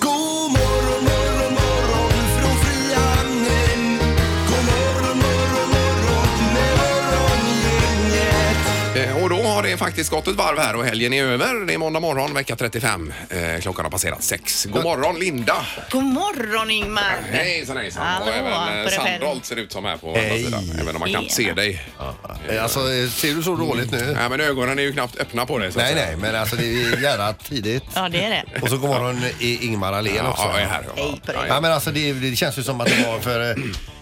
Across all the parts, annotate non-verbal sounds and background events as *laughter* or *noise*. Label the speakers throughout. Speaker 1: God morgon, morgon, morgon från Frihamnen. God morgon, morgon, morgon med morgongänget.
Speaker 2: Eh, Och då har det faktiskt gått ett varv här och helgen är över. Det är måndag morgon vecka 35. Eh, klockan har passerat sex. God morgon Linda!
Speaker 3: God morgon Ingmar!
Speaker 2: Hejsan hejsan!
Speaker 3: Hallå,
Speaker 2: och även eh,
Speaker 3: på dig själv.
Speaker 2: Sandholt ser ut som här på andra sidan. Även om man knappt ser dig.
Speaker 4: Eh, Alltså, eh, ser du så
Speaker 2: Mm.
Speaker 4: dåligt nu?
Speaker 2: Nej men ögonen är ju knappt öppna på dig. Så att
Speaker 4: Nej,
Speaker 2: säga.
Speaker 4: nej, men alltså det är gärna tidigt.
Speaker 3: Ja, det är det.
Speaker 4: Och så god morgon i Ingmar Ahlén
Speaker 2: Ja,
Speaker 4: också.
Speaker 2: ja, jag är här.
Speaker 3: Hej på dig.
Speaker 4: Ja, men alltså det, det känns ju som att det var för eh,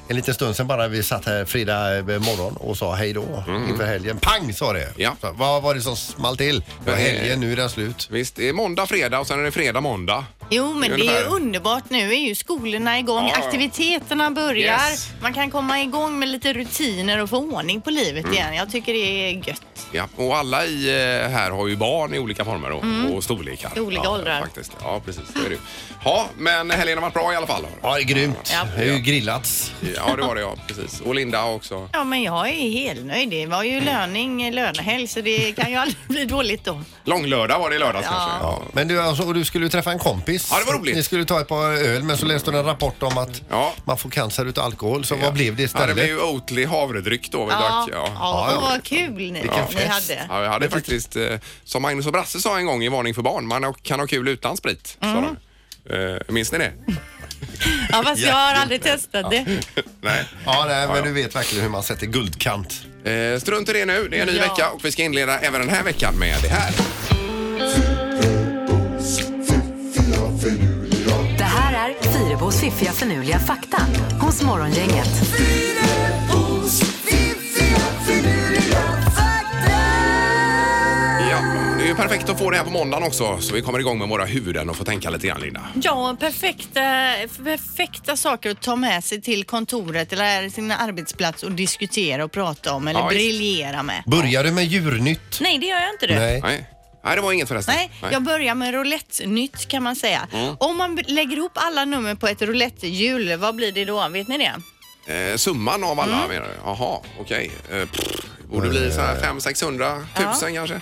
Speaker 4: en liten stund sedan bara vi satt här fredag eh, morgon och sa hej då inför helgen. Pang sa det!
Speaker 2: Mm. Ja.
Speaker 4: Så, vad var det som small till? Det var helgen, nu är den slut.
Speaker 2: Visst, det är måndag, fredag och sen är det fredag, måndag.
Speaker 3: Jo, men det är ju
Speaker 2: Ungefär.
Speaker 3: underbart. Nu är ju skolorna igång,
Speaker 2: Ja.
Speaker 3: aktiviteterna börjar.
Speaker 2: Yes.
Speaker 3: Man kan komma igång med lite rutiner och få ordning på livet
Speaker 2: Mm.
Speaker 3: igen. Jag tycker det är gött.
Speaker 2: Ja, och alla i, eh, här har ju barn i olika former och, och storlekar.
Speaker 3: Mm. I olika
Speaker 2: ja,
Speaker 3: åldrar.
Speaker 2: Faktiskt. Ja, precis. Det är det ju. Ja, men helgen har varit bra i alla fall.
Speaker 4: Ja, det är grymt.
Speaker 3: Ja.
Speaker 4: Det är ju grillats.
Speaker 2: Ja, det var det ja. Precis. Och Linda också.
Speaker 3: Ja, men jag är helt nöjd. Det var
Speaker 2: Mm.
Speaker 3: ju löning, lönehelg, så det kan ju aldrig *laughs* bli dåligt då.
Speaker 2: Långlördag var det i lördags
Speaker 3: Ja.
Speaker 2: kanske.
Speaker 4: Ja. Men du, alltså, och du skulle ju träffa en kompis.
Speaker 2: Ja, det var roligt.
Speaker 4: Ni skulle ta ett par öl, men så läste du en rapport om att
Speaker 2: Ja.
Speaker 4: man får cancer utav alkohol. Så vad blev det
Speaker 2: Ja,
Speaker 4: istället?
Speaker 2: det blev ju Oatly havredryck då vi
Speaker 3: Ja,
Speaker 2: drack.
Speaker 3: ja,
Speaker 2: Ja.
Speaker 3: och vad kul ni,
Speaker 4: Vilken
Speaker 3: ni
Speaker 4: fest.
Speaker 3: hade.
Speaker 2: Ja, vi hade faktiskt, eh, som Magnus och Brasse sa en gång i Varning för barn, man kan ha kul utan sprit.
Speaker 3: Mm.
Speaker 2: sa de. Eh, minns ni det?
Speaker 3: Ja, fast jag har aldrig testat det.
Speaker 2: Nej.
Speaker 4: Ja, nej, men
Speaker 2: ja.
Speaker 4: du vet verkligen hur man sätter guldkant.
Speaker 2: Eh, strunt i det nu, det är en ny
Speaker 3: Ja.
Speaker 2: vecka och vi ska inleda även den här veckan med det här.
Speaker 5: Det här är Fyrabos fiffiga förnuliga fakta hos Morgongänget.
Speaker 1: Fyrabos fiffiga finurliga fakta.
Speaker 2: Ja, det är ju perfekt att få det här på måndagen också så vi kommer igång med våra huvuden och får tänka lite grann Linda.
Speaker 3: Ja, perfekta, perfekta saker att ta med sig till kontoret eller sin arbetsplats och diskutera och prata om eller
Speaker 2: Ja, visst.
Speaker 3: briljera med.
Speaker 4: Börjar du med djurnytt?
Speaker 3: Nej, det gör jag inte du.
Speaker 4: Nej.
Speaker 2: Nej, Nej Mm. det var inget förresten.
Speaker 3: Nej, jag börjar med roulettnytt kan man säga. Om man b- lägger ihop alla nummer på ett roulettehjul, vad blir det då? Vet ni det?
Speaker 2: Eh, summan av
Speaker 3: Mm.
Speaker 2: alla menar du? Jaha, okej. Eh, pff, borde bli så här
Speaker 4: Eh.
Speaker 2: 500-600 tusen kanske?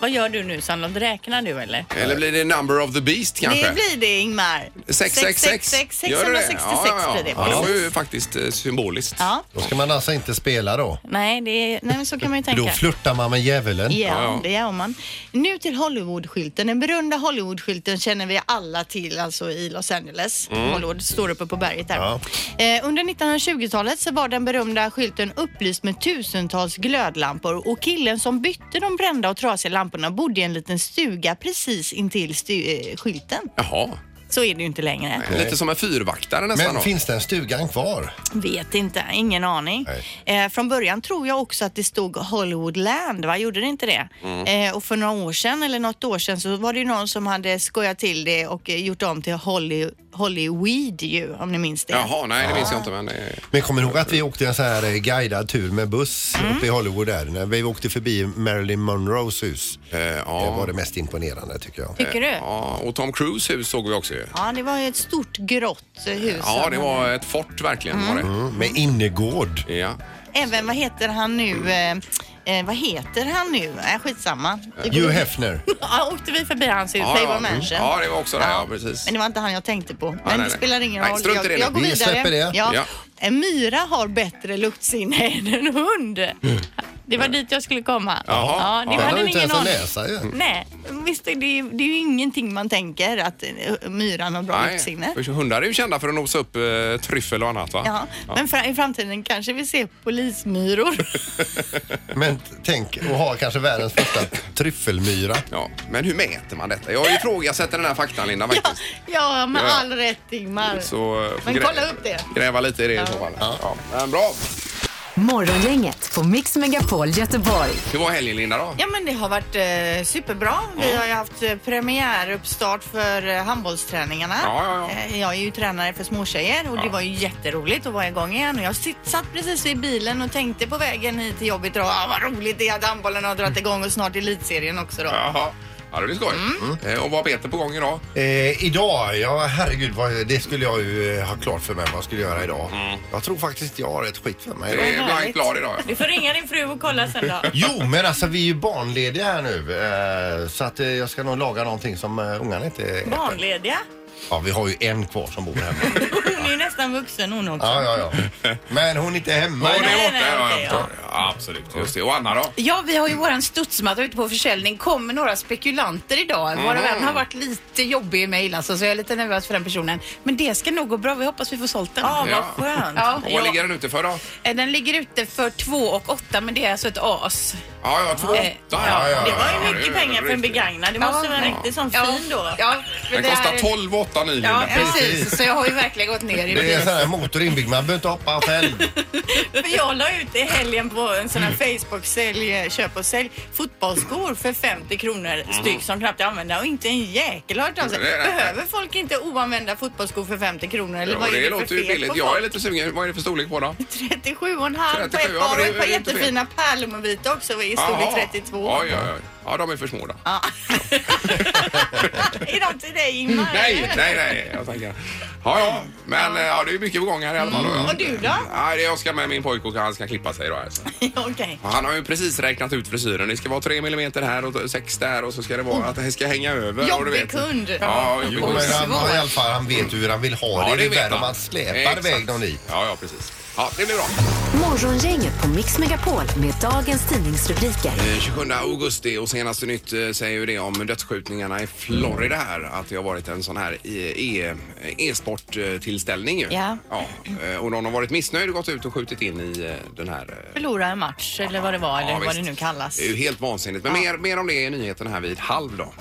Speaker 3: Vad gör du nu Sandlot? Räknar du eller?
Speaker 2: Eller blir det number of the beast kanske?
Speaker 3: Det blir det Ingmar.
Speaker 2: 666. Gör du det?
Speaker 3: 666 blir det.
Speaker 2: Ja, det var
Speaker 3: precis.
Speaker 2: ju faktiskt eh, symboliskt.
Speaker 3: Ja,
Speaker 4: Då ska man alltså inte spela då?
Speaker 3: nej, det är, nej men så kan man ju tänka.
Speaker 4: Då flörtar man med djävulen.
Speaker 3: Ja,
Speaker 2: ja.
Speaker 3: det gör man. Nu till Hollywoodskylten. Den berömda Hollywoodskylten känner vi alla till alltså i Los Angeles. Hollywood står uppe på berget där.
Speaker 4: Ja.
Speaker 3: Eh, under 1920-talet så var den berömda skylten upplyst med tusentals glödlampor och killen som bytte de brända och trasiga lamporna bodde i en liten stuga precis intill stu- eh, skylten.
Speaker 2: Jaha,
Speaker 3: Så är det ju inte längre.
Speaker 2: lite som en fyrvaktare nästan.
Speaker 4: Men
Speaker 2: då.
Speaker 4: finns den stugan kvar?
Speaker 3: Vet inte, ingen aning. Eh, från början tror jag också att det stod Hollywoodland, va? Gjorde det inte det?
Speaker 2: Mm.
Speaker 3: Eh, och för några år sedan, eller något år sedan, så var det ju någon som hade skojat till det och eh, gjort om till Holly, Hollyweed ju, om ni minns det.
Speaker 2: Jaha, nej det minns jag inte men... eh,
Speaker 4: Men kommer ni ihåg att vi åkte en sån här eh, guidad tur med buss
Speaker 3: Mm.
Speaker 4: uppe i Hollywood där? När vi åkte förbi Marilyn Monroes hus.
Speaker 2: eh,
Speaker 4: Det var
Speaker 2: ja.
Speaker 4: det mest imponerande tycker jag.
Speaker 3: Tycker du?
Speaker 2: ja, och Tom Cruise hus såg vi också ju.
Speaker 3: Ja, det var ju ett stort grått eh, hus.
Speaker 2: Ja, det var ett fort verkligen var det.
Speaker 4: Mm, Med innergård.
Speaker 2: Ja.
Speaker 3: Även, vad heter han nu? Eh, eh, vad heter han nu? Äh, skitsamma. Vi går
Speaker 4: Hugh
Speaker 3: vidare.
Speaker 4: Hefner.
Speaker 3: *laughs* Ja, åkte vi förbi hans hus,
Speaker 2: Ja,
Speaker 3: Playboy
Speaker 2: ja.
Speaker 3: Mansion.
Speaker 2: ja, det var också det. Ja, precis.
Speaker 3: Men det var inte han jag tänkte på. Men
Speaker 2: nej,
Speaker 3: det
Speaker 2: nej.
Speaker 3: spelar ingen
Speaker 2: Nej,
Speaker 3: roll.
Speaker 2: strunt i det
Speaker 3: jag,
Speaker 2: nu.
Speaker 3: jag går
Speaker 4: Vi
Speaker 3: vidare.
Speaker 4: släpper det.
Speaker 3: Ja.
Speaker 2: Ja.
Speaker 3: En myra har bättre luktsinne *laughs* än en hund. Det var dit jag skulle komma.
Speaker 2: Jaha. Ja.
Speaker 3: Ja, det
Speaker 4: Den har
Speaker 3: hade
Speaker 4: ju
Speaker 3: ni
Speaker 4: inte
Speaker 3: ingen
Speaker 4: ens att
Speaker 3: aning.
Speaker 4: läsa ju.
Speaker 3: Nej, visst det är, det är ju ingenting man tänker att eh, myran har bra luktsinne.
Speaker 2: för hundar är ju kända för att nosa upp eh, tryffel och annat va?
Speaker 3: Ja, men fra- i framtiden kanske vi ser polismyror. *laughs*
Speaker 4: Men tänk att ha kanske världens första tryffelmyra.
Speaker 2: Ja, men hur mäter man detta? Jag ifrågasätter den här faktan Linda
Speaker 3: *laughs* ja,
Speaker 2: faktiskt.
Speaker 3: ja, med
Speaker 2: Ja, ja.
Speaker 3: all rätt Ingmar.
Speaker 2: Så, eh, får
Speaker 3: Men kolla upp det.
Speaker 2: Gräva lite i det i så fall. Ja. men bra.
Speaker 5: Morgongänget på Mix Megapol Göteborg.
Speaker 2: Hur var helgen Linda då?
Speaker 3: Ja men det har varit eh, superbra. Vi har ju haft eh, premiäruppstart för eh, handbollsträningarna.
Speaker 2: Ja, ja, ja.
Speaker 3: Eh, jag är ju tränare för småtjejer och det var ju jätteroligt att vara igång igen. Och jag sitt, satt precis i bilen och tänkte på vägen hit till jobbet idag. Ah, vad roligt det är att handbollen har dragit igång och snart elitserien också då.
Speaker 2: Jaha. Ja, det blir skoj.
Speaker 3: Mm.
Speaker 2: Eh, Och vad har Peter på gång idag?
Speaker 4: Eh, idag, ja herregud, vad, det skulle jag ju eh, ha klart för mig vad jag skulle göra idag. Jag tror faktiskt inte jag har ett skit för mig.
Speaker 2: Mm. Det Eh, är
Speaker 3: Vad
Speaker 2: blankt
Speaker 3: härligt.
Speaker 2: glad idag.
Speaker 3: Du får ringa din fru och kolla sen *laughs* då.
Speaker 4: Jo, men alltså vi är ju barnlediga här nu eh, så att eh, jag ska nog laga någonting som eh, ungarna inte äter.
Speaker 3: Barnlediga?
Speaker 4: Ja, vi har ju en kvar som bor hemma.
Speaker 3: Hon är ju nästan vuxen hon också.
Speaker 4: ja, ja, ja. Men hon är inte hemma.
Speaker 2: Ja, det är
Speaker 3: Nej,
Speaker 2: borta.
Speaker 3: nej,
Speaker 2: ja, jag
Speaker 3: okej, Mm.
Speaker 2: förstår. Ja, absolut. Just det. Och Anna då?
Speaker 6: Ja, vi har ju våran studsmatta ute på försäljning. Kommer några spekulanter idag.
Speaker 3: Mm.
Speaker 6: Våra vän har varit lite jobbig i mejl alltså, så jag är lite nervös för den personen. Men det ska nog gå bra. Vi hoppas vi får sålt den.
Speaker 3: Ja,
Speaker 2: Ja.
Speaker 3: vad skönt.
Speaker 6: Ja,
Speaker 2: Och vad
Speaker 6: ja.
Speaker 2: ligger den ute för då?
Speaker 6: Eh, Den ligger ute för 2 och 8 men det är alltså ett as.
Speaker 2: Ja, ja, två.
Speaker 6: Eh,
Speaker 2: Ja,
Speaker 4: ja, ja,
Speaker 3: Det var
Speaker 2: ja,
Speaker 3: ju mycket
Speaker 2: det är
Speaker 3: pengar för en
Speaker 2: riktigt.
Speaker 3: begagnad. Det måste
Speaker 6: Ja.
Speaker 3: vara en riktig sån
Speaker 6: Ja,
Speaker 3: fin då.
Speaker 6: Ja, men
Speaker 2: Den
Speaker 6: det
Speaker 2: kostar
Speaker 6: är-
Speaker 2: 12 8 nu.
Speaker 6: Ja,
Speaker 2: Linda.
Speaker 6: precis. Så jag har ju verkligen gått ner i
Speaker 4: Det är en
Speaker 6: pris.
Speaker 4: sån här motor inbyggd, man behöver inte hoppa själv.
Speaker 3: För jag la ut i helgen på en sån här Facebook-sälj, eh, köp och sälj, fotbollsskor för 50
Speaker 2: Mhm.
Speaker 3: kronor styck som knappt är använda och inte en jäkel har hört av sig.
Speaker 2: Nej, nej, nej.
Speaker 3: Behöver folk inte oanvända fotbollsskor för 50 kronor eller
Speaker 2: Ja,
Speaker 3: vad är
Speaker 2: det,
Speaker 3: det, för
Speaker 2: låter
Speaker 3: fel
Speaker 2: ju billigt.
Speaker 3: på
Speaker 2: Jag är
Speaker 3: folk?
Speaker 2: lite sugen. Vad är det för storlek på då?
Speaker 3: 37,5 på
Speaker 2: 37,
Speaker 3: ett
Speaker 2: ja, men
Speaker 3: par och
Speaker 2: det
Speaker 3: ett par
Speaker 2: är ju inte fel.
Speaker 3: jättefina pärlmorvita också i *laughs* storlek
Speaker 2: Jaha.
Speaker 3: 32.
Speaker 2: Oj, oj, oj. Ja, de är för små då.
Speaker 3: Ja. *laughs* är de till dig Ingmar?
Speaker 2: Nej,
Speaker 3: *laughs*
Speaker 2: nej, nej. Jag tänker. Ja, ja. Men eh, ja, det är ju mycket på gång här i alla fall.
Speaker 3: Mm. Och du då?
Speaker 2: Nej, det är jag ska med min pojke och han ska klippa sig idag. Alltså.
Speaker 3: Okej.
Speaker 2: Han har ju precis räknat ut frisyren. Det ska vara 3 millimeter här och 6 där och så ska det vara att det ska hänga över. och du
Speaker 3: Jobbig
Speaker 2: vet.
Speaker 3: kund.
Speaker 2: Ja, jobbig
Speaker 4: Oh. Jo,
Speaker 2: kund.
Speaker 4: men han, i alla fall, han vet hur han vill ha det. det är
Speaker 2: vet
Speaker 4: värre om
Speaker 2: han.
Speaker 4: han släpar
Speaker 2: Exakt.
Speaker 4: iväg dem dit.
Speaker 2: Ja, ja, precis. Ja, det blir bra.
Speaker 5: Morgongänget på Mix Megapol med dagens tidningsrubriker.
Speaker 2: Eh, 27 augusti och senaste nytt eh, säger ju det om dödsskjutningarna i Florida här. Att det har varit en sån här eh, e- e-sporttillställning. ju.
Speaker 3: Ja.
Speaker 2: ja. eh, Och någon har varit missnöjd och gått ut och skjutit in i eh, den här. eh,
Speaker 3: Förlora en match eller vad det var eller
Speaker 2: ja,
Speaker 3: vad
Speaker 2: visst.
Speaker 3: det nu kallas.
Speaker 2: Det är ju helt vansinnigt. Men mer, mer om det i nyheten här vid halv då.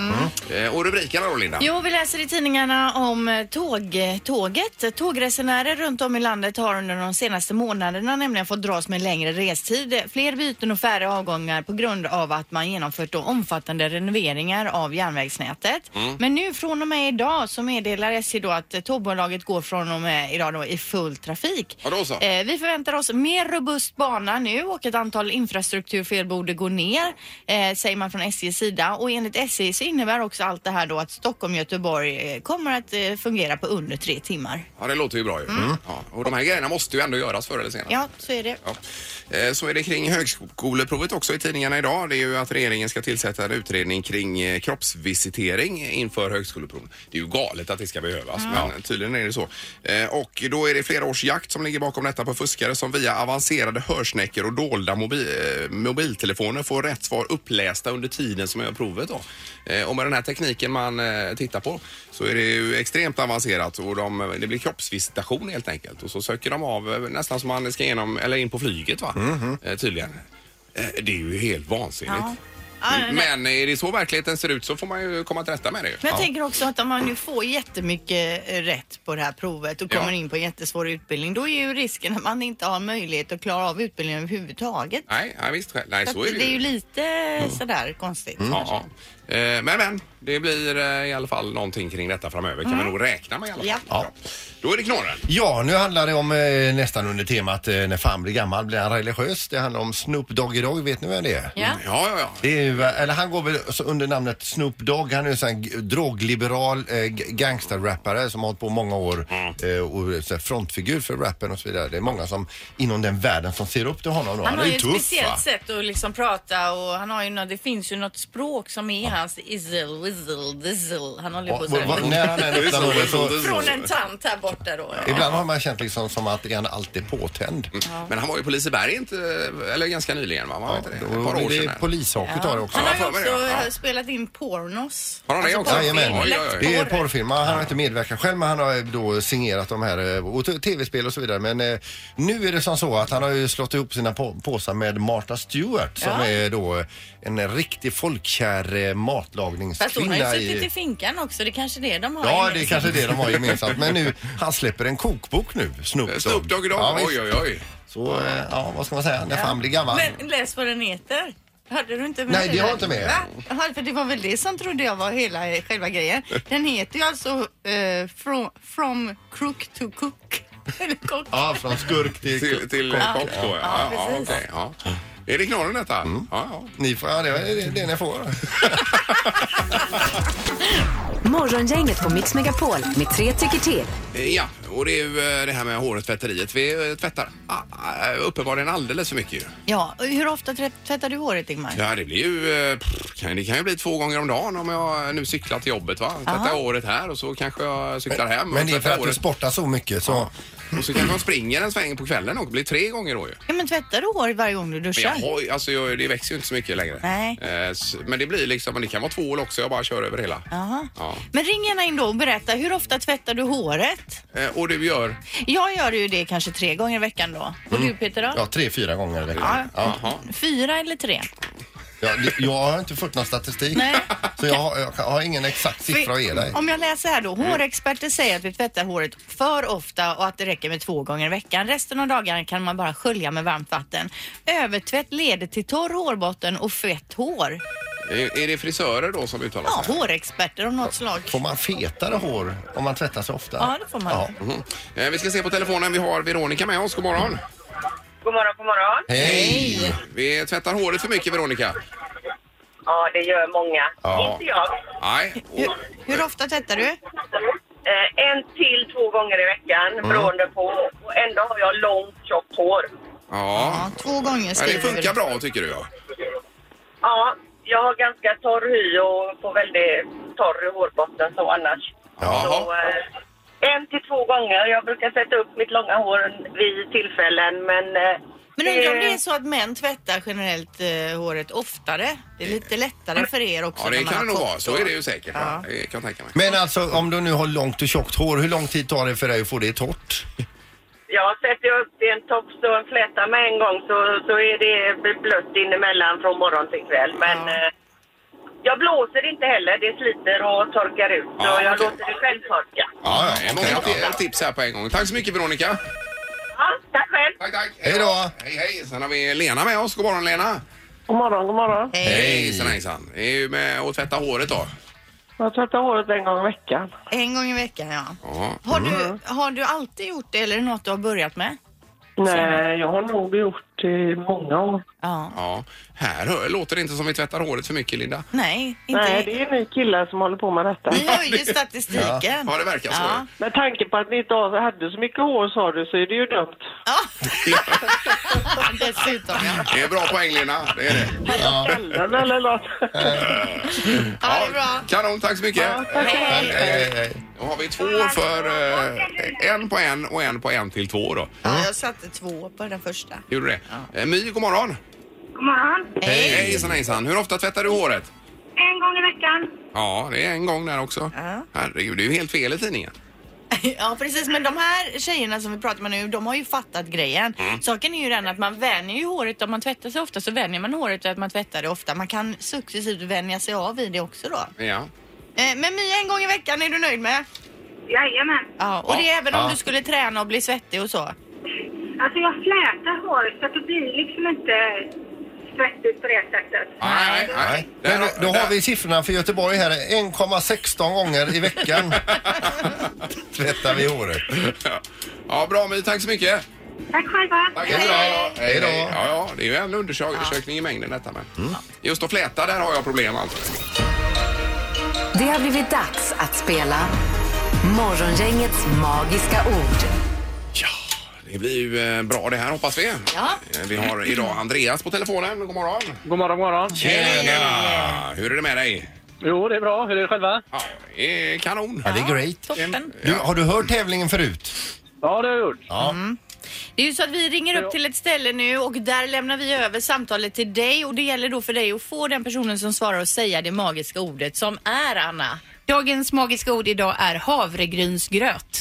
Speaker 2: Eh, Och rubrikerna då Linda?
Speaker 3: Mm. Jo, vi läser i tidningarna om eh, tåg, tåget. Tågresenärer runt om i landet har under de senaste månaderna nämligen fått dras med längre restid, fler byten och färre avgångar på grund av att man genomfört då omfattande renoveringar av järnvägsnätet. Men nu från och med idag så meddelar SJ då att eh, tågbolaget går från och med idag då i full trafik.
Speaker 2: Ja, då så.
Speaker 3: Eh, vi förväntar oss mer robust bana nu och ett antal infrastrukturfel borde gå ner, eh, säger man från SJs sida. Och enligt SJ så innebär också allt det här då att Stockholm-Göteborg eh, kommer att eh, fungera på under tre timmar.
Speaker 2: Ja, det låter ju bra ju. Mm. Ja. Och de här grejerna måste ju ändå göras förr eller senare.
Speaker 3: Mm. Ja, så är det.
Speaker 2: Ja. Eh, Så är det kring högskoleprovet också i tidningarna idag. Det är ju att regeringen ska tillsätta en utredning kring eh, kroppsvisitering inför högskoleprovet. Det är ju galet att det ska behövas,
Speaker 3: Mm.
Speaker 2: men tydligen är det så. Eh, Och då är det flera års jakt som ligger bakom detta på fuskare som via avancerade hörsnäckor och dolda mobi eh, mobiltelefoner får rätt svar upplästa under tiden som gör provet. Då. Eh, Och med den här tekniken man eh, tittar på så är det ju extremt avancerat och de, det blir kroppsvisitation helt enkelt. Och så söker de av eh, nästan som man ska igenom, eller in på flyget va? Eh, Tydligen. Eh, Det är ju helt vansinnigt.
Speaker 3: Ja, nej, nej.
Speaker 2: Men är det så verkligheten ser ut så får man ju komma till rätta med det. ju.
Speaker 3: Men jag tänker också att om man nu får jättemycket eh, rätt på det här provet och
Speaker 2: Ja.
Speaker 3: kommer in på en jättesvår utbildning, då är ju risken att man inte har möjlighet att klara av utbildningen överhuvudtaget.
Speaker 2: Nej, nej, visst. Nej,
Speaker 3: Så att
Speaker 2: så är det
Speaker 3: det är ju
Speaker 2: ju. Mm.
Speaker 3: lite sådär konstigt.
Speaker 2: Ja, ja. Eh, Men, men. Det blir eh, i alla fall någonting kring detta framöver. Kan vi nog räkna med i alla fall.
Speaker 3: Mm. Ja.
Speaker 2: Bra. Då är det knorren.
Speaker 4: Ja, nu handlar det om eh, nästan under temat eh, när fan blir gammal, blir han religiös? Det handlar om Snoop Doggy Dogg, vet ni vem det är?
Speaker 2: Ja, Mm, ja, ja.
Speaker 4: Det är, ju, eh, eller han går väl så under namnet Snoop Dogg. Han är en sån här g- drogliberal eh, g- gangsterrappare som har hållit på många år eh, och är så här frontfigur för rappen och så vidare. Det är många som inom den världen som ser upp till honom. Då.
Speaker 6: Han har
Speaker 4: är
Speaker 6: ju ett
Speaker 4: tuff,
Speaker 6: speciellt
Speaker 4: va?
Speaker 3: sätt att liksom prata och han har ju något, det finns ju något språk som är hans izzle, wizzle, dizzle. Han håller på
Speaker 4: Och- och- och-
Speaker 3: sådär.
Speaker 4: När han är
Speaker 2: Det är
Speaker 4: öppnar
Speaker 2: så, det är
Speaker 4: munnen
Speaker 2: så,
Speaker 4: så
Speaker 2: det är så.
Speaker 3: Från en tant här borta då.
Speaker 4: Ibland har man känt liksom som att är han alltid påtänd.
Speaker 2: Men han var ju på Liseberg inte, eller ganska nyligen va? Man vet inte det. Ett
Speaker 4: Och
Speaker 2: par år
Speaker 4: det
Speaker 2: sedan.
Speaker 4: är
Speaker 2: här.
Speaker 4: polishockey tar det också.
Speaker 3: Han har ju
Speaker 2: Ja, för mig,
Speaker 3: också
Speaker 2: ja.
Speaker 3: eh, spelat in pornos. Alltså,
Speaker 2: Har han det också?
Speaker 4: Jajamän.
Speaker 2: Oj, oj, oj.
Speaker 4: Det är porrfilm. Han har inte medverkat själv men han har då signerat de här eh, och t- tv-spel och så vidare. Men eh, nu är det som så att han har ju slått ihop sina på- påsar med Martha Stewart som är då en riktig folkkär eh,
Speaker 3: Fast hon
Speaker 4: matlagningskvinna.
Speaker 3: har ju
Speaker 4: i-
Speaker 3: suttit i finkan också, det är kanske är det de har
Speaker 4: Ja, det är
Speaker 3: gemensamt.
Speaker 4: kanske det de har gemensamt. Men nu, han släpper en kokbok nu, Snoop Dogg.
Speaker 2: Eh, Snoop Dogg idag?
Speaker 4: Ja,
Speaker 2: oj,
Speaker 4: visst.
Speaker 2: oj, oj.
Speaker 4: Så eh, ja, vad ska man säga, när fan blir gammal.
Speaker 3: Men läs vad den heter. Hade du inte med
Speaker 4: Nej, det har jag
Speaker 3: det?
Speaker 4: inte med.
Speaker 3: Va? Jaha, för det var väl det som trodde jag var hela eh, själva grejen. Den heter ju alltså eh, from, from crook to cook. *laughs* Eller kock.
Speaker 4: Ja, från skurk till...
Speaker 2: Till, till ja. kock då, ja. ja, ja,
Speaker 3: precis.
Speaker 2: okej, ja. Är det knorren detta?
Speaker 4: Mm.
Speaker 2: Ja, ja.
Speaker 4: Ni får, ja, det är det ni får.
Speaker 5: Morgongänget på Mix Megapol med tre tycker till.
Speaker 2: Eh, Ja, och det är ju eh, det här med håret tvätteriet. Vi eh, tvättar ah, ah, uppenbarligen alldeles för mycket ju.
Speaker 3: Ja, och hur ofta trä- tvättar du håret Ingmar?
Speaker 2: Ja, det blir ju... eh, pff, kan- Det kan ju bli två gånger om dagen om jag nu cyklar till jobbet. va? Tvättar jag håret här och så kanske jag cyklar hem.
Speaker 4: Men
Speaker 2: och
Speaker 4: det är för
Speaker 2: tvättar
Speaker 4: att du
Speaker 2: håret.
Speaker 4: sportar så mycket så...
Speaker 2: Och så kanske man springer en sväng på kvällen och det blir tre gånger då ju.
Speaker 3: Ja, men tvättar du håret varje gång du
Speaker 2: Men
Speaker 3: duschar?
Speaker 2: jag har, ju- alltså, jag, det växer ju inte så mycket längre.
Speaker 3: Nej.
Speaker 2: Eh, s- Men det blir liksom, men det kan vara två år också, jag bara kör över hela.
Speaker 3: Jaha.
Speaker 2: Ja.
Speaker 3: Men ring gärna in då och berätta, hur ofta tvättar du håret?
Speaker 2: Eh, Och du gör?
Speaker 3: Jag gör ju det kanske tre gånger i veckan då. Och
Speaker 2: Mm.
Speaker 3: du Peter då?
Speaker 4: Ja, tre, fyra gånger i
Speaker 3: Ja.
Speaker 4: veckan. Ja.
Speaker 2: Jaha.
Speaker 3: Fyra eller tre?
Speaker 4: Ja, det- jag har inte fått någon statistik.
Speaker 3: Nej.
Speaker 4: Så jag har, jag har ingen exakt siffra att ge dig.
Speaker 3: Om jag läser här då.
Speaker 2: Mm.
Speaker 3: Hårexperter säger att vi tvättar håret för ofta och att det räcker med två gånger i veckan. Resten av dagarna kan man bara skölja med varmt vatten. Övertvätt leder till torr hårbotten och fett hår.
Speaker 2: eh, Är är det frisörer då som uttalar
Speaker 3: Ja,
Speaker 2: sig?
Speaker 3: hårexperter av något slag.
Speaker 4: Får man fetare hår om man tvättar sig ofta?
Speaker 3: Ja, det får man.
Speaker 4: Ja.
Speaker 2: Mhm. Eh, Vi ska se på telefonen, vi har Veronica med oss. God morgon.
Speaker 7: God morgon, god morgon.
Speaker 4: Hej!
Speaker 2: Vi tvättar håret för mycket Veronica.
Speaker 7: Ja, det gör många.
Speaker 4: Ja.
Speaker 7: Inte jag.
Speaker 2: Nej.
Speaker 3: Hur, hur ofta tvättar du?
Speaker 7: Eh, en till två gånger i veckan beroende på. Och ändå har jag långt, tjockt hår.
Speaker 2: Ja.
Speaker 3: Ja, två gånger
Speaker 2: Men det
Speaker 3: skriver
Speaker 2: funkar
Speaker 3: du.
Speaker 2: bra tycker du ja.
Speaker 7: Ja, jag har ganska torr hy och får väldigt torr hårbotten så annars. Så,
Speaker 2: Jaha.
Speaker 7: eh, en till två gånger. Jag brukar sätta upp mitt långa hår vid tillfällen, men... Eh,
Speaker 3: Men undrar om det är så att män tvättar generellt eh, håret oftare? Det är lite lättare för er också.
Speaker 2: Ja,
Speaker 3: när
Speaker 2: det
Speaker 3: man
Speaker 2: kan
Speaker 3: har
Speaker 2: det nog
Speaker 3: kort
Speaker 2: vara. Så
Speaker 3: hår.
Speaker 2: är det ju säkert. va?
Speaker 3: Ja.
Speaker 2: Det kan jag tänka mig.
Speaker 4: Men alltså om du nu har långt och tjockt hår, hur lång tid tar det för dig att få det torrt?
Speaker 7: jag sätter jag upp i en tofs och en fläta med en gång så, så är det blött inemellan från morgon till kväll. Men
Speaker 3: Ja.
Speaker 7: eh, jag blåser inte heller. Det sliter och torkar ut. Så
Speaker 2: Ja,
Speaker 7: jag
Speaker 2: okej.
Speaker 7: låter det själv torka.
Speaker 2: Ja, ja,
Speaker 4: okej.
Speaker 2: många t- tips här på en gång. Tack så mycket Veronica.
Speaker 7: Ja, tack själv.
Speaker 2: Tack, tack.
Speaker 4: Hej då.
Speaker 2: Hej, hej. Sen har vi Lena med oss. God morgon Lena.
Speaker 7: God morgon, god morgon.
Speaker 3: Hej.
Speaker 2: Hejsan, hejsan. Det är ju med att tvätta håret då.
Speaker 7: Jag tvättar håret en gång i veckan.
Speaker 3: En gång i veckan, ja.
Speaker 2: Ja. Mm.
Speaker 3: Har du, har du alltid gjort det eller är det något du har börjat med?
Speaker 7: Nej, jag har nog gjort det i många år.
Speaker 3: Ja.
Speaker 2: Ja, här hör- låter det inte som vi tvättar håret för mycket, Linda.
Speaker 3: Nej, inte.
Speaker 7: Nej, det är ni killar som håller på med detta.
Speaker 3: Ni har ju statistiken.
Speaker 2: Ja, det verkar så.
Speaker 3: Ja.
Speaker 7: Med tanke på att ni inte har- hade så mycket hår sa du, så är det ju dumt.
Speaker 3: *laughs* Ja, Dessutom, ja.
Speaker 2: Det är bra poäng, Lena. Det är det.
Speaker 7: Skallen eller något.
Speaker 3: Ja, det är bra.
Speaker 2: Kanon, tack så mycket.
Speaker 4: Hej, hej, hej.
Speaker 2: Då har vi två för eh, en på en och en på en till två då.
Speaker 3: Ja, jag satte två på den första.
Speaker 2: Gjorde du det? Eh, My, god morgon.
Speaker 7: God morgon.
Speaker 2: Hej. Hejsan, hejsan. Hur ofta tvättar du håret?
Speaker 7: En gång i veckan.
Speaker 2: Ja, det är en gång där också.
Speaker 3: Ja.
Speaker 2: Herregud, det är ju helt fel i tidningen.
Speaker 3: *laughs* Ja, precis. Men de här tjejerna som vi pratar med nu, de har ju fattat grejen. Saken är ju den att man vänjer ju håret. Om man tvättar sig ofta så vänjer man håret vid att man tvättar det ofta. Man kan successivt vänja sig av i det också då.
Speaker 2: Ja.
Speaker 3: Eh, Men My, en gång i veckan är du nöjd med?
Speaker 7: Jajamän.
Speaker 3: Ja, och
Speaker 2: Ja.
Speaker 3: det är även
Speaker 4: Ja.
Speaker 3: om du skulle träna och bli svettig och så.
Speaker 7: Alltså jag flätar håret så att det blir liksom inte svettigt på det sättet.
Speaker 2: Nej, nej,
Speaker 4: Nej.
Speaker 2: nej.
Speaker 4: Men då,
Speaker 2: Där-
Speaker 4: då har
Speaker 2: där-
Speaker 4: vi siffrorna för Göteborg här. 1,16 gånger i veckan *laughs* tvättar vi håret.
Speaker 2: Ja, bra My. Tack så mycket.
Speaker 7: Tack själva.
Speaker 2: Tack, hej, då. Mm.
Speaker 4: Hej då.
Speaker 2: Ja, ja, det är ju en undersökning i mängden detta med. Just att fläta, där har jag problem alltså.
Speaker 5: Det har blivit dags att spela Morgongängets magiska ord.
Speaker 2: Ja, det blir ju eh, bra det här hoppas vi.
Speaker 3: Ja.
Speaker 2: Eh, Vi har idag Andreas på telefonen. God morgon.
Speaker 7: God morgon, god morgon.
Speaker 2: Tjena! Hur är det med dig?
Speaker 7: Jo, det är bra. Hur är det själva?
Speaker 2: Ja, det är kanon.
Speaker 4: Ja, det är great.
Speaker 3: Toppen.
Speaker 4: Du, har du hört tävlingen förut?
Speaker 7: Ja, det har jag gjort.
Speaker 4: Ja.
Speaker 3: Det är ju så att vi ringer upp till ett ställe nu och där lämnar vi över samtalet till dig och det gäller då för dig att få den personen som svarar och säga det magiska ordet som är Anna.
Speaker 6: Dagens magiska ord idag är havregrynsgröt.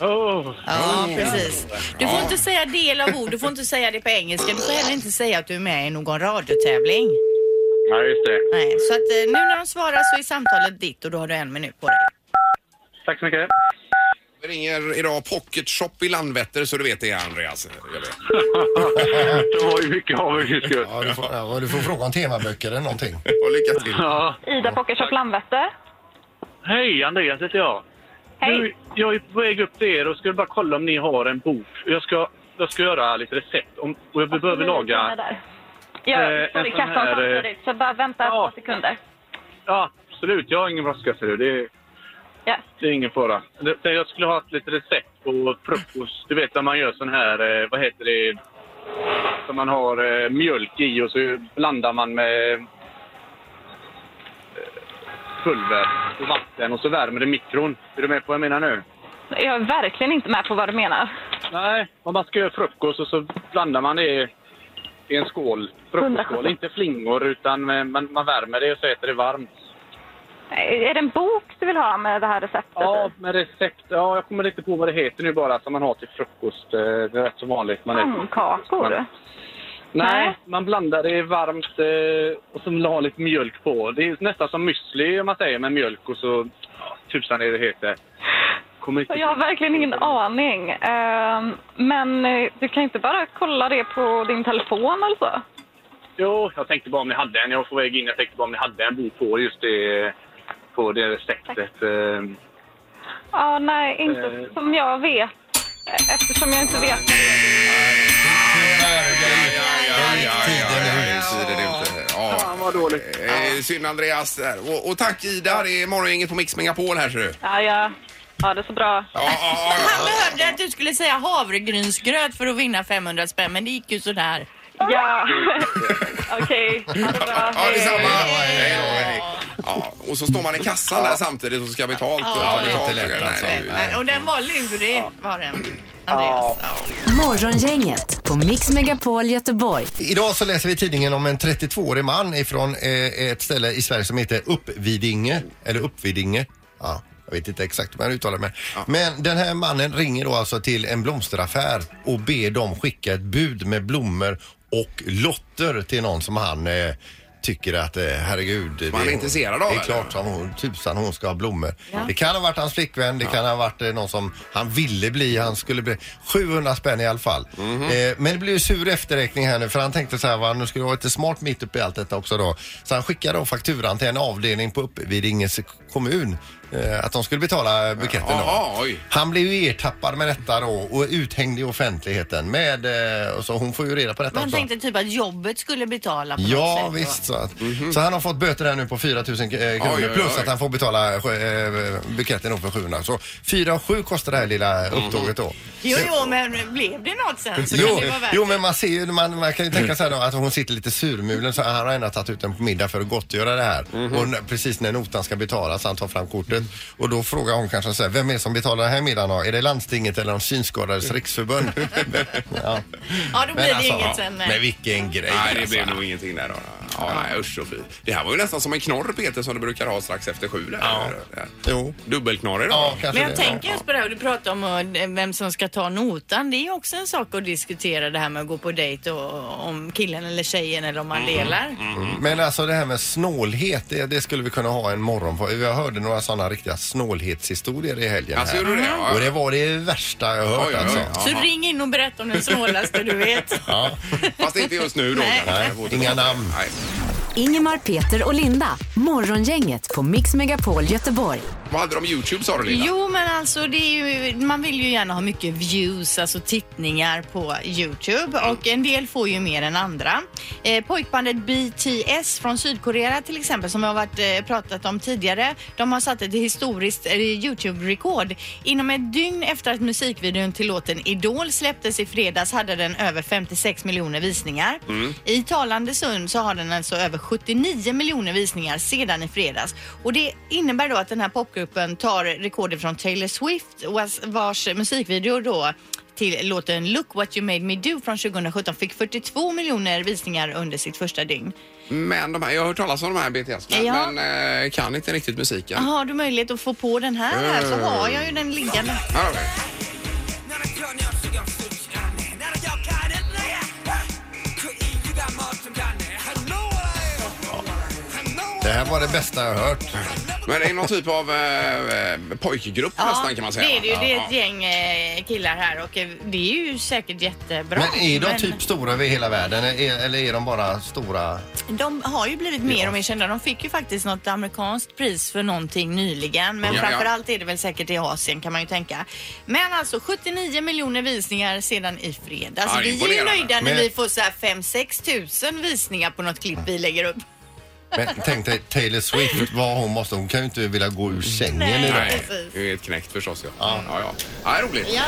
Speaker 7: Oh.
Speaker 3: Ja, precis. Du får inte säga del av ord, du får inte säga det på engelska, du får heller inte säga att du är med i någon radiotävling.
Speaker 7: Ja, just det.
Speaker 3: Nej, så att eh, nu när de svarar så är samtalet ditt och då har du en minut på dig.
Speaker 7: Tack så mycket.
Speaker 2: Vi ringer idag Pocket Shop i Landvetter så du vet det Andreas. Jag vet.
Speaker 8: det var ju mycket avundsjuk.
Speaker 4: Ja, du, får, ja, du får fråga om temaböcker eller någonting.
Speaker 2: *laughs* Och lycka till.
Speaker 8: Ja.
Speaker 9: Ida Pocketshop Landvetter.
Speaker 8: Hej, Andreas heter jag.
Speaker 9: Hej.
Speaker 8: Nu, jag är på väg upp till er och skulle bara kolla om ni har en bok. Jag ska, jag ska göra lite recept om, och jag behöver
Speaker 9: Mina
Speaker 8: laga...
Speaker 9: där. Ja,
Speaker 8: Eh,
Speaker 9: sorry,
Speaker 8: en sån
Speaker 9: kassan
Speaker 8: här, eh,
Speaker 9: samtidigt. Så bara vänta ett par sekunder.
Speaker 8: Ja, absolut. Jag har ingen brådska för det. Det är,
Speaker 9: Ja.
Speaker 8: det är ingen fara. Det- det- Jag skulle ha ett litet recept på frukost. Du vet när man gör sån här, eh, vad heter det, som man har eh, mjölk i och så blandar man med eh, pulver och vatten och så värmer det i mikron. Är du med på vad jag menar nu?
Speaker 9: Jag är verkligen inte med på vad du menar.
Speaker 8: Nej, om man ska göra frukost och så blandar man det i en skål. Frukostskål,
Speaker 9: 170.
Speaker 8: inte flingor utan eh, man, man värmer det och så äter det varmt.
Speaker 9: Eh, Är det en bok du vill ha med det här receptet?
Speaker 8: Ja, med recept. Ja, jag kommer inte på vad det heter nu bara som man har till frukost. eh, Det är rätt som vanligt. Man äter.
Speaker 9: Pannkakor?
Speaker 8: Man- Nej, man blandar det varmt eh, och så la lite mjölk på. Det är nästan som müsli om man säger med mjölk och så ja, tusan är det heter. Kommer inte...
Speaker 9: Jag har verkligen ingen aning. Ehm, Men eh, du kan inte bara kolla det på din telefon eller så?
Speaker 8: Jo, jag tänkte bara om ni hade en. Jag var på väg in. Jag tänkte bara om ni hade en bok på just det, på det receptet. eh.
Speaker 9: Ja, nej, inte
Speaker 8: Eh.
Speaker 9: som jag vet. Eftersom jag inte vet.
Speaker 2: Tiden är ute. Ja. Fan vad dåligt. Eh, synd Andreas. där. Och, och tack Ida, det är morgongänget på Mix Megapol här ser du.
Speaker 9: Ja, ja. Ha det så bra.
Speaker 3: Han behövde att du skulle säga havregrynsgröt för att vinna 500 spänn, men det gick ju sådär.
Speaker 9: Ja. *laughs* Okej, ha det bra.
Speaker 2: Ja, detsamma. Hej då, hej. Ja, och så står man i kassan där samtidigt och så ska ha betalt.
Speaker 3: Ja,
Speaker 2: och
Speaker 3: det
Speaker 2: ta
Speaker 3: är inte
Speaker 2: betalt.
Speaker 3: lätt,
Speaker 2: Nej,
Speaker 3: alltså.
Speaker 2: det är ju-
Speaker 4: Mm.
Speaker 3: Nej, Och den var lurig, var den.
Speaker 5: Morgongänget på Mix Megapol Göteborg.
Speaker 4: Idag så läser vi i tidningen om en 32-årig man ifrån eh, ett ställe i Sverige som heter Uppvidinge. Eller Uppvidinge. Ja, jag vet inte exakt hur man uttalar det. Men den här mannen ringer då alltså till en blomsteraffär och ber dem skicka ett bud med blommor och lotter till någon som han eh, tycker att eh, herregud. det
Speaker 2: han är intresserad av,
Speaker 4: Det är
Speaker 2: eller?
Speaker 4: klart som hon, tusan hon ska ha blommor.
Speaker 2: Ja.
Speaker 4: Det kan ha varit hans flickvän, det kan ha varit eh, någon som han ville bli, han skulle bli 700 spänn i alla fall. Eh, men det blev ju sur efterräkning här nu för han tänkte så här, va, nu skulle jag vara lite smart mitt uppe i allt detta också då. Så han skickade då fakturan till en avdelning på Uppvidinges kommun. eh, Att de skulle betala buketten
Speaker 2: Jaha,
Speaker 4: då. Han blev ju ertappad med detta då och uthängd i offentligheten med, eh, och så hon får ju reda på detta
Speaker 3: Man
Speaker 4: också.
Speaker 3: tänkte typ att jobbet skulle betala på något
Speaker 4: Ja
Speaker 3: sätt. Mhm.
Speaker 4: visst. Så, att, så han har fått böter här nu på 4 000 eh, kronor
Speaker 2: oj, oj.
Speaker 4: plus att han får betala eh, buketten då för 700. Så 4 7 kostar det här lilla upptåget då.
Speaker 3: Jo, jo, men blev det något sen Mhm. så
Speaker 4: Jo,
Speaker 3: kan det vara värt
Speaker 4: jo men man ser ju, man, man kan ju tänka sig då att hon sitter lite surmulen så han har ändå tagit ut den på middag för att gottgöra det här.
Speaker 3: Mhm.
Speaker 4: Och n- precis när notan ska betalas han tar fram kortet och då frågar hon kanske så här, vem är det som betalar den här middagen då? Är det landstinget eller de synskadades
Speaker 3: *laughs*
Speaker 4: riksförbund? ja.
Speaker 3: Ja, då blir det inget sen.
Speaker 4: Men vilken grej.
Speaker 2: Nej, det blev
Speaker 4: alltså.
Speaker 2: nog ingenting där då. Ja, nej, usch och fy. Det här var ju nästan som en knorr Peter som du brukar ha strax efter sju. Där. Ja.
Speaker 4: Jo.
Speaker 2: Dubbelknorr idag.
Speaker 4: Ja,
Speaker 3: Men jag tänker just på det här, du pratar om eh, vem som ska ta notan. Det är ju också en sak att diskutera det här med att gå på dejt och om killen eller tjejen eller om man
Speaker 4: Mm.
Speaker 3: delar.
Speaker 2: Mm.
Speaker 4: Men alltså det här med snålhet, det, det skulle vi kunna ha en morgon på. Jag hörde några sådana riktiga snålhetshistorier i helgen.
Speaker 2: Alltså,
Speaker 4: här.
Speaker 2: gjorde du det? Ja, ja.
Speaker 4: Och det var det värsta jag hört
Speaker 2: Oj, oj, oj.
Speaker 4: alltså.
Speaker 3: Så ring in och berätta om den snålaste du
Speaker 4: *laughs*
Speaker 3: vet.
Speaker 4: Ja.
Speaker 2: Fast inte just nu då.
Speaker 3: Nej.
Speaker 4: Nej, inga namn.
Speaker 2: Nej.
Speaker 5: Ingemar, Peter och Linda. Morgongänget på Mix Megapol Göteborg.
Speaker 2: Vad hade de Youtube sa du Linda?
Speaker 3: Jo, men alltså det är ju, man vill ju gärna ha mycket views, alltså tittningar på Youtube och en del får ju mer än andra. Eh, pojkbandet BTS från Sydkorea till exempel som jag har varit, eh, pratat om tidigare, de har satt ett historiskt eh, Youtube-rekord. Inom ett dygn efter att musikvideon till låten Idol släpptes i fredags hade den över 56 miljoner visningar.
Speaker 2: Mm.
Speaker 3: I talande stund så har den alltså över 79 miljoner visningar sedan i fredags. Och det innebär då att den här popgruppen tar rekordet från Taylor Swift vars- vars musikvideo då till låten Look What You Made Me Do från 2017 fick 42 miljoner visningar under sitt första dygn.
Speaker 2: Men de här, jag har hört talas om de här BTS, men,
Speaker 3: Ja.
Speaker 2: men eh, kan inte riktigt musiken.
Speaker 3: Har du möjlighet att få på den här, här
Speaker 2: Eh.
Speaker 3: så har jag ju den liggande.
Speaker 2: Här har vi.
Speaker 4: Det här var det bästa jag har hört.
Speaker 2: Men det är någon typ av eh, eh, pojkgrupp nästan kan man säga.
Speaker 3: det är det ju. Det är
Speaker 2: Ja,
Speaker 3: ett gäng eh, killar här och eh, det är ju säkert jättebra.
Speaker 4: Men är de typ stora över hela världen Är- eller är de bara stora?
Speaker 3: De har ju blivit mer och mer kända. De fick ju faktiskt något amerikanskt pris för någonting nyligen. Men
Speaker 4: Ja, ja.
Speaker 3: framförallt är det väl säkert i Asien kan man ju tänka. Men alltså 79 miljoner visningar sedan i fredags.
Speaker 2: Ja, det är
Speaker 3: vi är ju
Speaker 2: imponerande.
Speaker 3: nöjda när
Speaker 4: Men-
Speaker 3: vi får så här 5-6 tusen visningar på något klipp vi lägger upp.
Speaker 4: Men tänk dig Taylor Swift, vad hon måste. Hon kan ju inte vilja gå ur sängen
Speaker 2: Nej,
Speaker 4: i det.
Speaker 2: Nej, det är helt knäckt förstås. Ja, ja. ja, ja. ja roligt.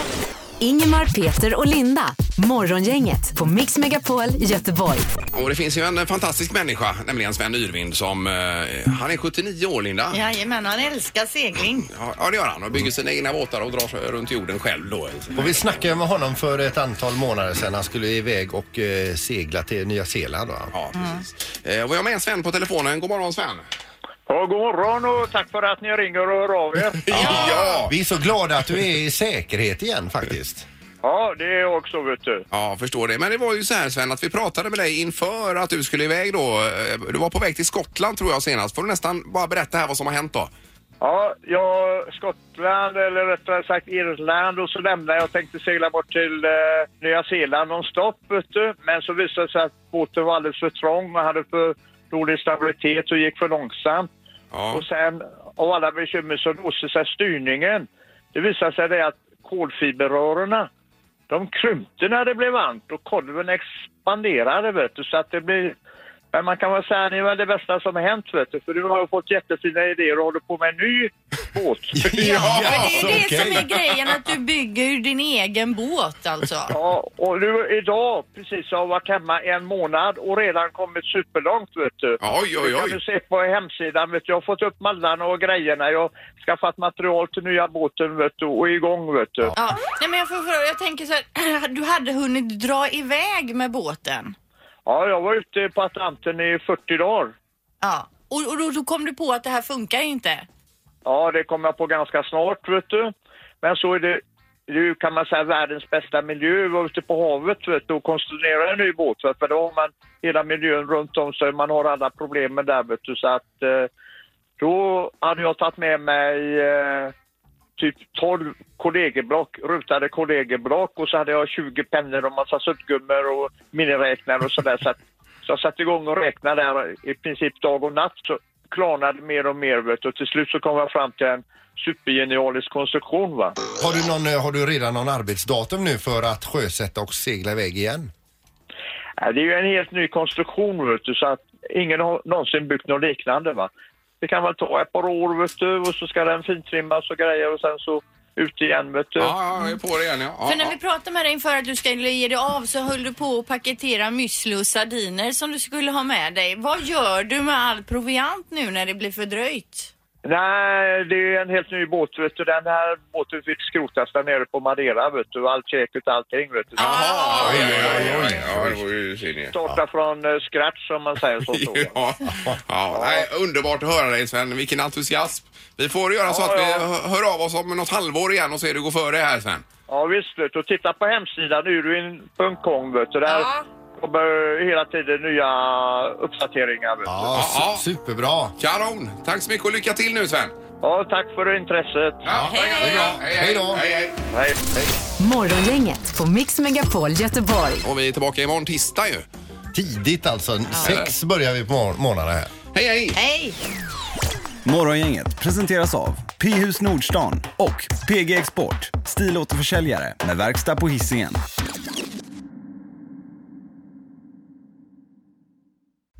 Speaker 5: Ingemar, Peter och Linda. Morgongänget på Mix Megapol Göteborg.
Speaker 2: Och det finns ju en fantastisk människa, nämligen Sven Nyrvind som, eh, han är 79 år Linda.
Speaker 3: Jajamän, han älskar segling.
Speaker 2: Ja, ja, det gör han. Och bygger sina egna båtar och drar sig runt jorden själv då.
Speaker 4: Och vi snackade med honom för ett antal månader sedan. Han skulle iväg och eh, segla till Nya Zeeland. Va?
Speaker 2: Ja, precis. Eh, och vi har med Sven på telefonen. God morgon Sven!
Speaker 7: Ja, god morgon och tack för att ni ringer och hör av er.
Speaker 2: Ja!
Speaker 4: Vi är så glada att du är i säkerhet igen faktiskt.
Speaker 7: Ja, det är jag också vet du.
Speaker 2: Ja, förstår det. Men det var ju så här Sven, att vi pratade med dig inför att du skulle iväg då. Eh, Du var på väg till Skottland tror jag senast. Får du nästan bara berätta här vad som har hänt då.
Speaker 7: Ja, jag, Skottland eller rättare sagt Irland och så lämnade jag tänkte segla bort till eh, Nya Zeeland nonstop vet du. Men så visade det sig att båten var alldeles för trång och hade för dålig stabilitet och gick för långsamt. Och sen av alla bekymmer så låste sig styrningen. Det visade sig det att kolfiberrörerna de krympte när det blev varmt och kolven expanderade vet du så att det blir men man kan väl säga att det är väl det bästa som har hänt vet du, för du har ju fått jättefina idéer och håller på med en ny båt.
Speaker 3: Ja, men det är ju det som är grejen, att du bygger ju din egen båt alltså.
Speaker 7: Ja, och nu idag precis har jag varit hemma en månad och redan kommit superlångt vet du.
Speaker 2: Oj, oj,
Speaker 7: Det kan
Speaker 2: oj.
Speaker 7: du se på hemsidan vet du. Jag har fått upp mallarna och grejerna. Jag har skaffat material till nya båten vet du och är igång vet du.
Speaker 3: Ja. Nej, men jag, får, fråga, jag tänker så här, *clears throat* du hade hunnit dra iväg med båten.
Speaker 7: Ja, jag var ute på Atlanten i 40 dagar.
Speaker 3: Ja. Och, och då, då kom du på att det här funkar inte.
Speaker 7: Ja, det kom jag på ganska snart, vet du. Men så är det nu kan man säga världens bästa miljö, vara ute på havet vet du, och konstruera en ny båt. vet du, För då har man hela miljön runt om sig, man har alla problemen där. Vet du, så att, eh, då hade jag tagit med mig eh, typ 12 kollegieblock, rutade kollegieblock och så hade jag 20 pennor och massa suddgummor och miniräknare och sådär. Så, att- så jag satte igång och räknade där i princip dag och natt. Så klarnade mer och mer vet du, och till slut så kom jag fram till en supergenialisk konstruktion. Va?
Speaker 4: Har du, någon, eh, har du redan någon arbetsdatum nu för att sjösätta och segla iväg igen?
Speaker 7: Ja, Det är ju en helt ny konstruktion, vet du, så att ingen har någonsin byggt något liknande. Va? Det kan väl ta ett par år, vet du, och så ska den fintrimmas och grejer och sen så ut igen, vet du.
Speaker 2: Ja, jag är på det igen. Ja.
Speaker 3: För när vi pratade med dig inför att du skulle ge dig av så höll du på att paketera müsli och sardiner som du skulle ha med dig. Vad gör du med all proviant nu när det blir fördröjt?
Speaker 7: Nej, det är en helt ny båt, vet du. Den här båten fick skrotas där nere på Madeira, vet du. Allt käket och allting, vet du.
Speaker 2: Ja, ja, ja, ja, ja, det var ju synd ju.
Speaker 7: Starta från eh, scratch, om man säger så. så.
Speaker 2: *laughs* Ja, ja, nej, underbart att höra dig Sven, vilken entusiasm. Vi får göra så
Speaker 7: Ja,
Speaker 2: att vi
Speaker 7: ja.
Speaker 2: hö- hör av oss om något halvår igen och ser du går före här Sven.
Speaker 7: Ja visst vet du. Och titta på hemsidan uruin.com vet du. Där kommer hela tiden nya uppdateringar vet du.
Speaker 4: Ja, su- superbra.
Speaker 2: Kanon! Tack så mycket och lycka till nu Sven!
Speaker 7: Ja, tack för intresset.
Speaker 2: Ja, hej, hej då! Hej, hej.
Speaker 5: Morgongänget på Mix Megapol Göteborg.
Speaker 2: Och vi är tillbaka imorgon tisdag ju.
Speaker 4: Tidigt alltså. Sex börjar vi på mor- morgonen här.
Speaker 2: Hej, hej!
Speaker 3: Hej!
Speaker 10: Morgongänget presenteras av P-hus Nordstan och PG Export, stilåterförsäljare med verkstad på Hisingen.